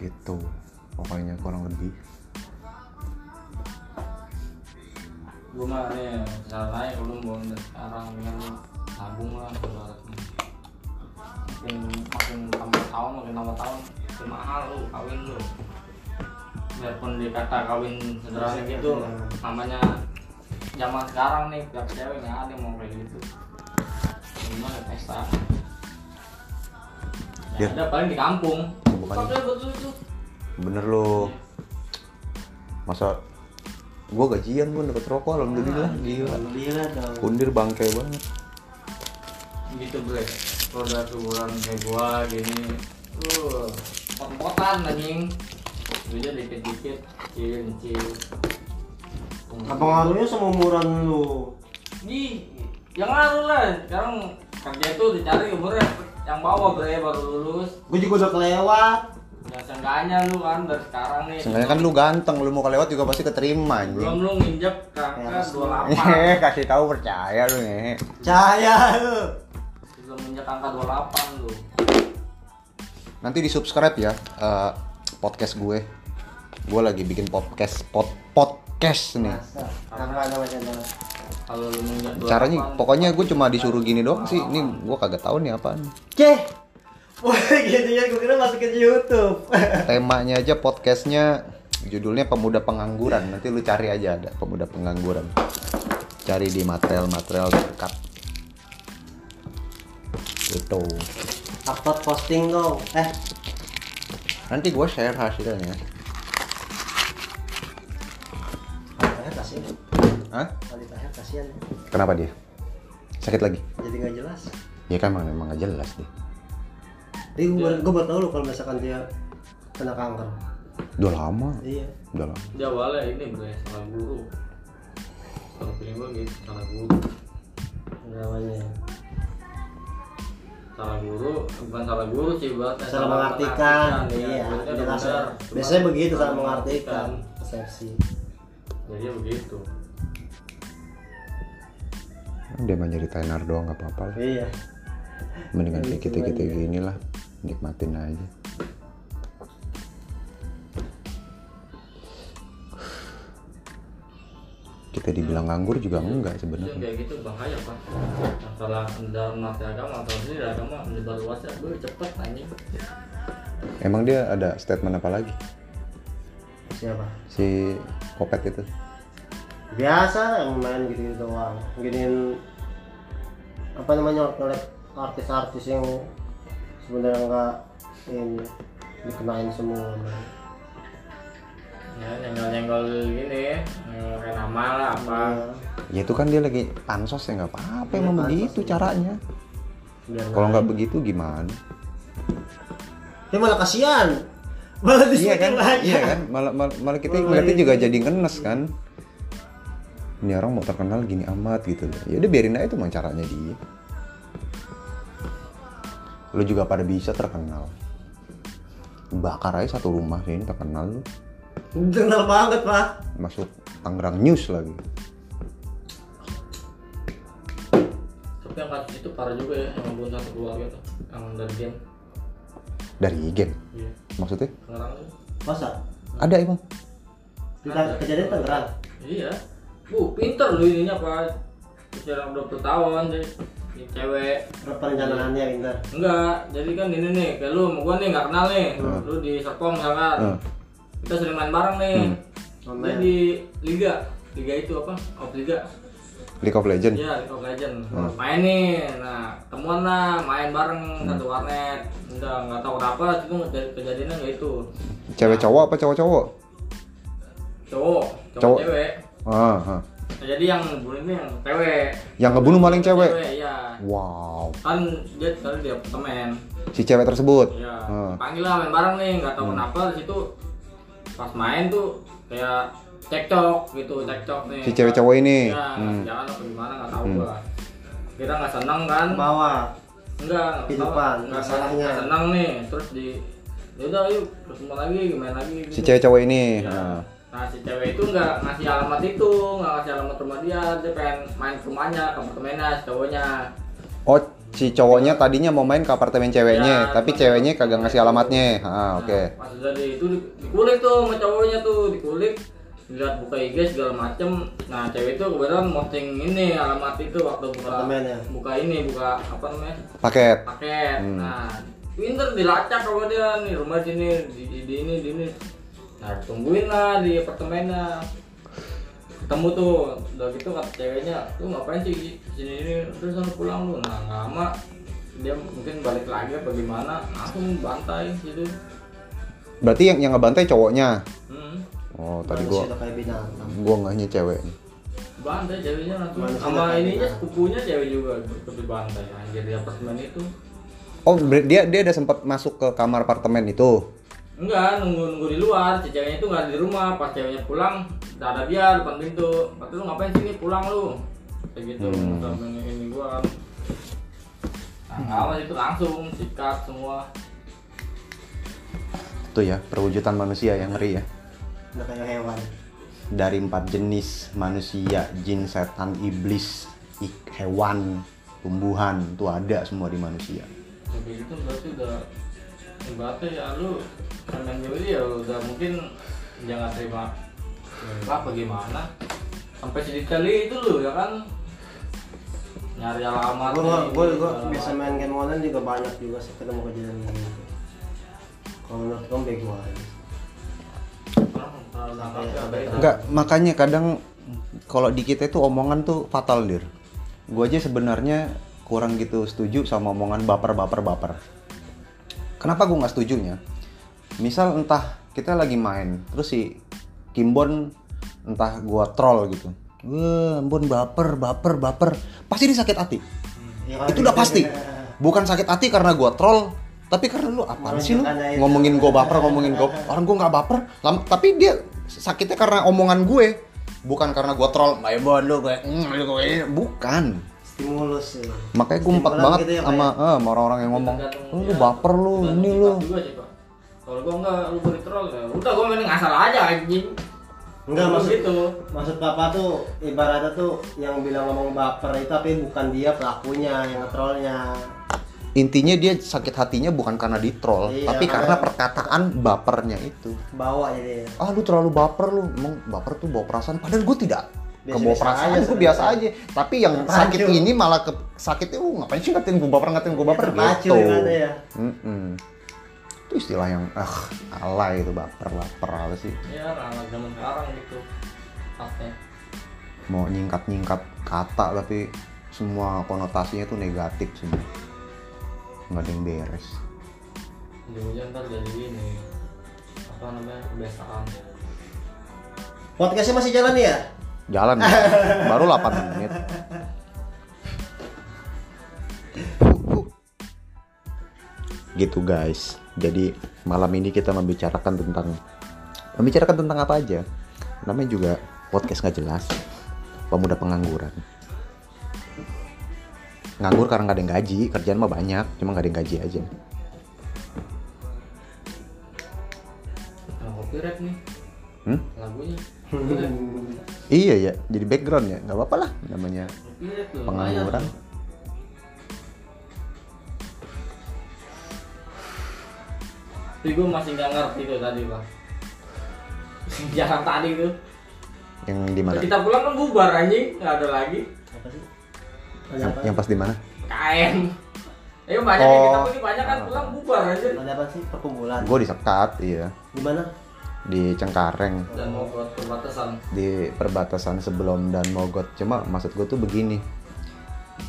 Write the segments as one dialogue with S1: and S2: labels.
S1: gitu pokoknya kurang lebih
S2: gue mah iya, ini caranya belum mau dari sekarang biar nabung lah ibaratnya makin makin tambah tahun makin tambah tahun makin mahal lu kawin lu biarpun dikata kawin sederhana
S3: Biasa
S2: gitu
S1: Iya.
S3: aja.
S2: namanya zaman sekarang nih tiap cewek nggak ada yang mau kayak gitu gimana pesta ya,
S1: Dir.
S2: ada paling di kampung
S1: Iya. Bukan. Oh.
S2: Tapi buat lucu.
S1: bener lo masa gua gajian gua dapet rokok alhamdulillah Ah, gila
S3: Alhamdulillah dong.
S1: kundir bangke banget
S2: gitu bre kalau udah sebulan kayak gua gini uh pot-potan anjing duitnya dikit-dikit kecil kecil
S3: Apa ngaruhnya sama umuran ya lu?
S2: Ih, yang ngaruh lah sekarang kerja tuh dicari umurnya yang bawah bre baru lulus
S3: Gue juga udah kelewat.
S2: ya seenggaknya lu kan dari sekarang nih
S1: sebenarnya kan lu ganteng lu mau kelewat juga pasti keterima
S2: belum
S1: anjing
S2: lu nginjek ke angka
S3: Harus.
S2: 28
S1: Hehe, kasih tahu percaya lu nih
S3: Cahaya lu.
S2: belum nginjek angka 28 lu
S1: nanti di subscribe ya eh, podcast gue gue lagi bikin podcast pod, podcast nih
S3: Masa. Apa namanya dong?
S2: kalau lu nginjek 28
S1: caranya pokoknya gue cuma disuruh gini doang sih ini gue kagak tahu nih apaan
S3: Ceh. Wah gitu ya, gue kira masukin di Youtube
S1: temanya aja podcastnya judulnya pemuda pengangguran nanti lu cari aja ada pemuda pengangguran cari di material-material terdekat gitu
S3: Upload posting dong Eh,
S1: nanti gue share hasilnya
S3: kualitasnya kasihan
S1: Hah?
S3: Kualitasnya kasihan ya.
S1: kenapa dia sakit lagi
S3: Jadi gak jelas
S1: ya kan emang emang nggak jelas deh
S3: Jadi gue, gue buat tau lu kalau misalkan dia kena kanker
S1: udah lama
S3: Iya
S1: udah lama
S2: Dia awalnya ini bre, salah guru Kalau pilih gue gitu, salah guru
S3: Namanya
S2: Salah guru, bukan salah guru sih buat
S3: Salah mengartikan Iya,
S2: Iya,
S3: jelas
S2: bener.
S3: ya.
S2: Cuma
S3: Biasanya begitu, salah mengartikan Persepsi
S2: Jadi begitu
S1: dia mah nyeritain nar doang nggak apa-apa lah
S3: Iya
S1: mendingan kayak
S3: Gitu
S1: kita kita
S3: aja.
S1: gini lah nikmatin aja kita dibilang nganggur juga enggak
S2: Itu yang
S3: Iya,
S1: sebenarnya
S2: kayak gitu bahaya pak Masalah dalam nasi agama atau ini agama menyebar luasnya Gue cepet anjing
S1: emang dia ada statement apa lagi
S3: Siapa?
S1: si kopet itu
S3: biasa yang main gitu-gitu doang giniin apa namanya ngeliat artis-artis yang sebenarnya nggak ini dikenain semua
S2: Ya, nyenggol-nyenggol gini Nyenggol kayak nama lah apa
S3: Iya.
S1: ya itu kan dia lagi pansos ya nggak apa-apa
S3: Iya,
S1: emang
S3: pansos
S1: begitu
S3: iya.
S1: caranya
S3: biar
S1: kalau nggak begitu gimana
S3: dia Ya malah kasihan malah
S1: iya kan
S3: disuruh aja
S1: iya kan malah malah, malah kita
S2: Oh,
S3: Malah
S1: ngeliatnya
S2: iya.
S3: itu.
S1: juga jadi ngenes kan ini orang mau terkenal gini amat gitu loh ya udah biarin aja tuh emang caranya dia lu juga pada bisa terkenal bakar aja satu rumah sih ini terkenal lu
S3: kenal banget pak
S1: masuk Tangerang News lagi
S2: Tapi yang kasus itu parah juga ya Yang bunuh satu keluarga tuh Yang dari game
S1: dari game
S2: Iya,
S1: maksudnya
S2: Tangerang tuh
S3: masa
S1: ada ya, emang
S3: kita kejadian Tangerang
S2: Iya. Bu, pinter lu ininya Pak. Sejarah 20 tahun deh. Ini cewek.
S3: perencanaannya pintar
S2: Enggak, jadi kan ini nih, kayak lu sama gua nih nggak kenal nih.
S1: Hmm.
S2: Lu di Serpong misalkan.
S1: Hmm.
S2: Kita sering main bareng nih.
S1: Hmm.
S2: Dia
S3: Online.
S2: di Liga. Liga itu apa? Op Liga.
S1: League of Legends
S2: Iya, Liga of Legend.
S1: Hmm.
S2: Main nih. Nah, temuan lah, main bareng satu warnet. Enggak, nggak tahu kenapa itu kej- kejadiannya nggak itu. Iya.
S1: cewek cowok apa cowok cowok
S2: Cowok, cowok,
S1: Cowok.
S2: cewek.
S1: ah, ah.
S2: Nah, jadi yang bunuh ini yang cewek.
S1: yang ngebunuh Ah, maling cewek
S2: Cewek, iya.
S1: wow
S2: kan dia sekali di apartemen
S1: si cewek tersebut
S2: ya
S1: Ah.
S2: panggil lah main bareng nih nggak
S1: Hmm.
S2: tahu kenapa di situ pas main tuh kayak cekcok gitu cekcok nih
S1: si cewek cowok ini
S2: ya
S1: Hmm.
S2: jalan apa gimana nggak tahu
S1: Hmm.
S2: gua kita nggak seneng kan
S3: bawah
S2: enggak
S3: Kehidupan,
S2: nggak
S3: masalahnya.
S2: nggak seneng nih terus di ya udah yuk terus main lagi main lagi gitu.
S1: si cewek cowok ini
S2: Iya.
S1: nah.
S2: Nah si cewek itu nggak ngasih alamat itu, nggak ngasih alamat rumah dia, dia pengen main ke rumahnya, ke apartemennya, si cowoknya.
S1: Oh, si cowoknya tadinya mau main ke apartemen ceweknya,
S2: Ya,
S1: tapi
S2: cuma-
S1: ceweknya kagak ngasih alamatnya. Ah, oke.
S2: Nah, pas udah di, itu di- dikulik tuh sama cowoknya tuh dikulik dilihat buka IG segala macem nah cewek itu kebetulan posting ini alamat itu waktu buka
S3: Apartemen ya?
S2: buka ini buka apa namanya
S1: Paket.
S2: paket
S1: Hmm.
S2: nah pinter dilacak kalau dia nih rumah sini di, di, di ini di ini nah tungguin lah di apartemennya ketemu tuh udah gitu kata ceweknya lu ngapain sih di sini ini terus sana pulang lu nah nggak lama dia mungkin balik lagi apa gimana langsung bantai gitu
S1: Berarti yang yang ngebantai cowoknya.
S2: hmm.
S1: Oh, tadi
S3: Manusia
S1: gua
S3: udah kayak binatang.
S1: gua ngahnya cewek.
S2: bantai ceweknya langsung
S3: Manusia
S2: sama
S3: kayak
S2: ininya
S3: gimana?
S2: sepupunya cewek juga ikut dibantai anjir di apartemen itu
S1: Oh, ber- dia dia ada sempat masuk ke kamar apartemen itu.
S2: Enggak, nunggu-nunggu di luar, si ceweknya itu nggak ada di rumah, pas ceweknya pulang, udah ada dia depan pintu Kata lu ngapain sini, pulang lu Kayak gitu,
S1: Hmm.
S2: sama ini, ini gua kan Nah, awas itu langsung, sikat semua
S1: Tuh ya, perwujudan manusia yang ngeri ya.
S3: Udah kayak hewan.
S1: Dari empat jenis manusia, jin, setan, iblis, ik- hewan, tumbuhan, tuh ada semua di manusia.
S2: Kayak gitu berarti udah Ibaratnya ya lu, permen juri ya udah mungkin jangan terima
S3: Hmm.
S2: Enggak apa gimana Sampai sedetail itu lu ya kan Nyari alamat
S3: Gue gua,
S2: nih,
S3: gua, gua
S2: segala
S3: biasa
S2: macam.
S3: main game online juga banyak juga sih ketemu kejadian kayak gitu. Kalau menurut kamu bego aja.
S2: Orang terlalu ya, nangkapnya,
S3: Sampai-
S2: abis.
S1: Enggak, makanya kadang kalau di kita itu omongan tuh fatal, Dir. Gua aja sebenarnya kurang gitu setuju sama omongan baper-baper-baper. Kenapa gua nggak setujunya? Misal entah kita lagi main, terus si Kimbon entah gua troll gitu. Wah, Ambon baper, baper, baper. Pasti dia sakit hati.
S3: Ya, kalau
S1: Itu udah pasti.
S3: gitu-
S1: Bukan sakit hati karena gua troll, tapi karena lu apaan sih lu
S3: Menunjukkan aja.
S1: ngomongin gua baper, ngomongin gua orang gua nggak baper. Lam- tapi dia sakitnya karena omongan gue, bukan karena gua troll. Mbak Ebon lu gue, mm, lu gue ini." bukan.
S3: Stimulus sih.
S1: Makanya gue empat
S3: Stimulan
S1: banget
S3: gitu ya, Pak,
S1: sama eh, sama orang-orang yang ngomong, "Oh, "Lu,
S2: ya,
S1: lu baper lu, ini lu.
S3: gitu.
S2: Kalau gua enggak lu boleh troll ya. Udah gua main ngasal aja anjing.
S3: Enggak maksud
S2: gitu.
S3: Maksud papa tuh ibaratnya tuh yang bilang ngomong baper itu tapi bukan dia pelakunya yang ngetrolnya.
S1: Intinya dia sakit hatinya bukan karena di troll,
S3: Iya,
S1: tapi karena
S3: makanya.
S1: perkataan bapernya itu.
S3: Bawa jadi.
S1: ah lu terlalu baper lu emang baper tuh bawa perasaan padahal gue tidak
S3: Biasa-biasa
S1: ke bawa perasaan
S3: aja
S1: gue biasa aja
S3: sebenarnya.
S1: tapi yang
S3: Terpacu.
S1: sakit ini malah ke sakitnya uh ngapain sih ngatain gue baper ngatain gue baper
S3: Terpacu
S1: gitu
S3: ibaratnya ya.
S1: Mm-mm. itu istilah yang ah alay itu baper baper apa sih
S2: Ya, anak zaman sekarang gitu. Pasnya.
S1: mau nyingkat nyingkat kata tapi semua konotasinya tuh negatif semua nggak ada yang beres
S2: Ujung-ujung ntar jadi ini. Apa namanya? Kebiasaan.
S3: Podcastnya masih jalan ya?
S1: jalan baru 8 menit gitu guys jadi malam ini kita membicarakan tentang membicarakan tentang apa aja namanya juga podcast nggak jelas pemuda pengangguran nganggur karena nggak ada yang gaji kerjaan mah banyak cuma nggak ada yang gaji aja
S2: Nah, copyright nih
S1: hmm?
S2: lagunya.
S1: iya ya jadi background ya nggak apa-apa lah namanya
S2: Copyright tuh.
S1: pengangguran
S2: lumayan. Tapi gua masih nggak ngerti tuh tadi, Pak. Jangan tadi tuh.
S1: yang di mana
S2: Kita pulang kan bubar anjing, nggak ada lagi.
S3: Apa sih? Ada
S1: yang,
S3: apa?
S1: yang pas di mana
S2: KM. Ayo banyak yang kita
S1: Oh.
S2: pergi banyak kan pulang bubar aja.
S3: Ada apa sih perkumpulan?
S1: gue disekat iya
S3: Di mana?
S1: di Cengkareng
S2: Dan mau buat perbatasan.
S1: di perbatasan sebelum dan Mogot cuma maksud gue tuh begini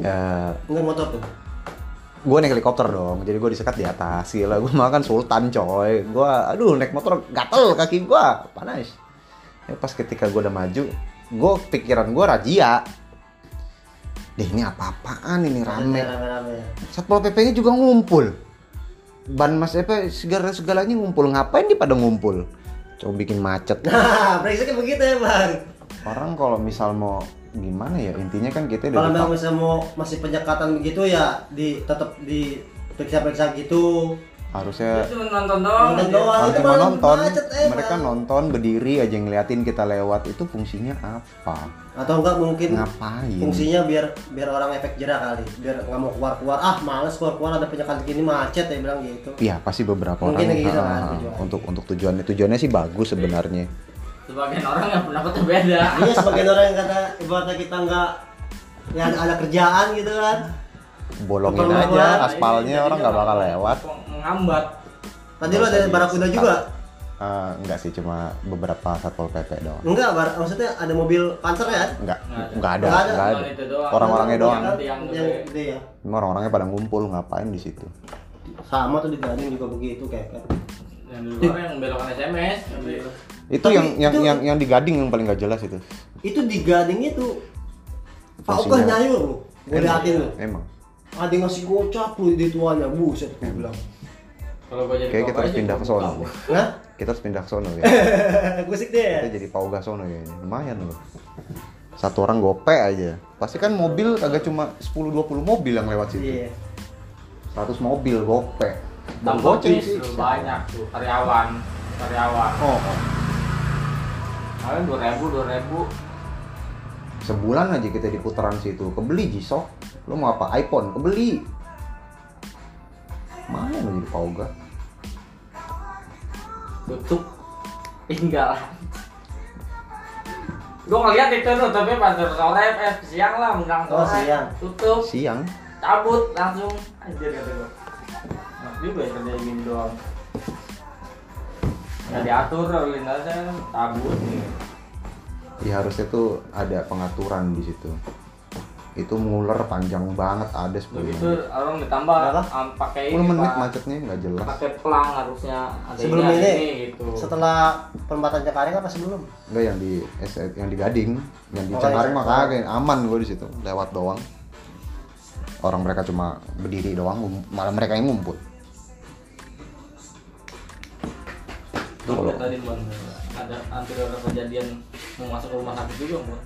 S1: Eh,
S3: Enggak motor tuh.
S1: gue naik helikopter dong jadi gue disekat di atas gila gue makan sultan coy gue aduh naik motor gatel kaki gue panas Ya, pas ketika gue udah maju gue pikiran gue razia deh ini apa-apaan ini rame
S3: Rame-rame.
S1: Satpol PP-nya juga ngumpul. Ban Mas Epe segala-segalanya ngumpul. Ngapain dia pada ngumpul? Coba bikin macet.
S3: Nah, brexitnya begitu ya, Bang.
S1: Orang kalau misal mau gimana ya intinya kan kita
S3: Kalau
S1: dari
S3: memang misalnya mau masih penyekatan begitu ya di tetap di periksa-periksa gitu.
S1: harusnya
S2: Itu nonton doang. aja.
S3: Nonton doang. Wah, itu
S1: cuma
S3: malah
S1: nonton
S3: macet eh, emang.
S1: mereka nonton berdiri aja ngeliatin kita lewat itu fungsinya apa
S3: atau enggak mungkin
S1: ngapain
S3: fungsinya biar biar orang efek jerak kali biar nggak mau keluar keluar ah males keluar keluar ada penyekatan gini macet ya bilang gitu
S1: Iya pasti beberapa
S3: Mungkin
S1: orang
S3: lagi gitu kan,
S1: ah,
S3: tujuan.
S1: untuk untuk tujuannya tujuannya sih bagus sebenarnya
S2: Sebagian orang yang pendapatnya beda.
S3: iya sebagian orang yang kata ibaratnya kita nggak ya ada, ada kerjaan gitu kan
S1: bolongin
S3: Keperluan.
S1: aja
S3: Nah,
S1: aspalnya
S2: Jadi
S1: orang nggak bakal lewat
S2: Ngambat.
S3: tadi lu ada
S1: Masa
S3: barakuda
S1: di-
S3: juga
S1: Ah, enggak sih cuma beberapa satpol pp doang
S3: enggak bar- maksudnya ada mobil panser ya
S1: enggak
S2: Nggak ada.
S1: enggak ada
S3: Nggak ada,
S1: enggak ada
S2: cuman itu doang.
S3: Iya.
S1: orang-orangnya doang
S2: Yang-
S3: yang,
S2: yang gede.
S3: gede ya
S1: Cuma orang-orangnya pada ngumpul ngapain di situ
S3: sama tuh di Bandung juga begitu kayak kayak.
S2: Yang di luar yang belokan SMS. yang di-
S1: itu
S3: Tapi
S1: yang yang
S3: itu-
S1: yang yang digading yang paling nggak jelas itu
S3: itu di gading itu Pak Ukah
S1: Fungsinya.
S3: nyayur lu godain lu
S1: emang
S3: ada yang ngasih gocap lu di tuanya buset gue bilang
S2: Kalau gua jadi
S1: kayak kita
S2: bapak
S1: harus
S2: aja,
S1: pindah ke
S2: gua
S1: sono
S2: buka.
S3: Hah? Iya.
S1: kita harus pindah ke sono ya
S3: Gusik deh.
S1: kita jadi pauga sono ya lumayan loh satu orang gope aja pasti kan mobil kagak cuma 10-20 mobil yang lewat situ
S3: Iya.
S1: 100 mobil gope Bang
S2: Tambah
S1: goceng
S2: bis
S1: sih.
S2: lu, banyak tuh karyawan, karyawan.
S3: Oh,
S2: Kalian dua ribu, dua ribu.
S1: sebulan aja kita di putaran situ kebeli jisok lo mau apa iPhone kebeli mana lo jadi pauga
S2: tutup tinggal gue ngeliat itu tuh tapi pas sore eh siang lah menjelang
S3: Oh,
S2: sore
S3: siang.
S2: tutup
S1: siang
S2: cabut langsung anjir kata gue nah, juga ya kerja gini doang nggak diatur lalu lintasnya kan, cabut nih
S1: ya harusnya tuh ada pengaturan di situ itu nguler panjang banget ada 10
S2: udah gitu
S1: menit
S2: orang ditambah
S3: Berapa?
S2: am- pakai
S1: 10
S2: ini
S1: menit
S2: Iya, Pak.
S1: macetnya nggak jelas
S2: pakai pelang harusnya ada
S3: sebelum
S2: ini, ada
S3: Iya, ini,
S2: ini gitu
S3: setelah perempatan Cengkareng apa sebelum?
S1: Enggak yang di S- yang di Gading, yang di
S3: Oh,
S1: Cengkareng
S3: iya.
S1: mah kagak aman gue di situ, lewat doang. Orang mereka cuma berdiri doang, ngum- malah mereka yang ngumpul.
S2: Tuh,
S1: Kalau-
S2: tadi bukan ada hampir ada kejadian mau masuk ke rumah sakit juga bukan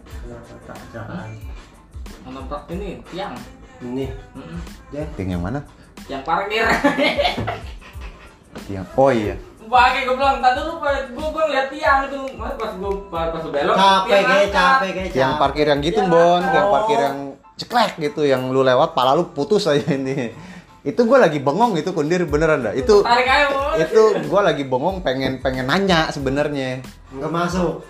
S2: menabrak ini tiang
S3: Ini
S2: Mm-mm.
S3: deh.
S1: Tiang yang mana?
S2: tiang parkir
S1: Tiang. Oh iya.
S2: pakai gue bilang tadi lu gue gue ngeliat tiang itu Mas, pas gue pas, pas gua belok tiang
S3: Capek kayak
S2: angkat.
S3: capek kayak
S1: Tiang
S3: capek.
S1: parkir yang gitu,
S2: Iya,
S1: Bon.
S2: Kak.
S1: Tiang
S3: Oh.
S1: parkir yang ceklek gitu yang lu lewat pala lu putus aja ini. Itu gue lagi bengong itu kundir beneran dah. Itu
S2: tarik aja Bos.
S1: itu gue lagi bengong pengen pengen nanya sebenarnya.
S3: Enggak masuk.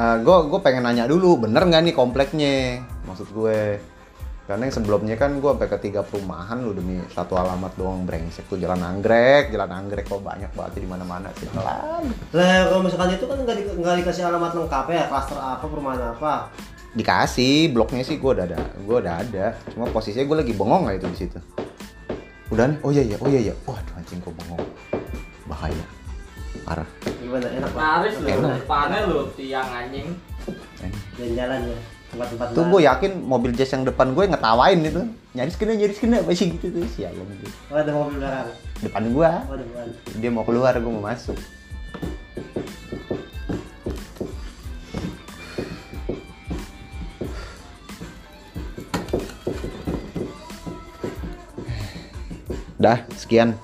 S1: gue gue Ah, pengen nanya dulu bener nggak nih kompleknya maksud gue karena yang sebelumnya kan gue sampai ke tiga perumahan lu demi satu alamat doang brengsek tuh jalan anggrek jalan anggrek kok banyak banget di mana mana sih Pelan.
S3: Lah kalau misalkan itu kan enggak di, nggak dikasih alamat lengkap ya, klaster apa, perumahan apa.
S1: dikasih bloknya sih gue udah ada gue udah ada cuma posisinya gue lagi bengong lah itu di situ udah nih oh iya iya oh iya iya waduh anjing gue bengong bahaya parah
S3: Gimana enak Pak?
S2: laris lu
S1: Enak.
S2: depannya lu tiang anjing
S1: Eh.
S3: Jalan-jalan ya, tempat-tempat.
S1: tuh gue yakin mobil jazz yang depan gue ngetawain itu nyaris kena nyaris kena masih gitu tuh sialan gitu.
S3: Oh, ada mobil belakang.
S1: depan gue
S3: Oh, ada bukan.
S1: dia mau keluar gue mau masuk dah sekian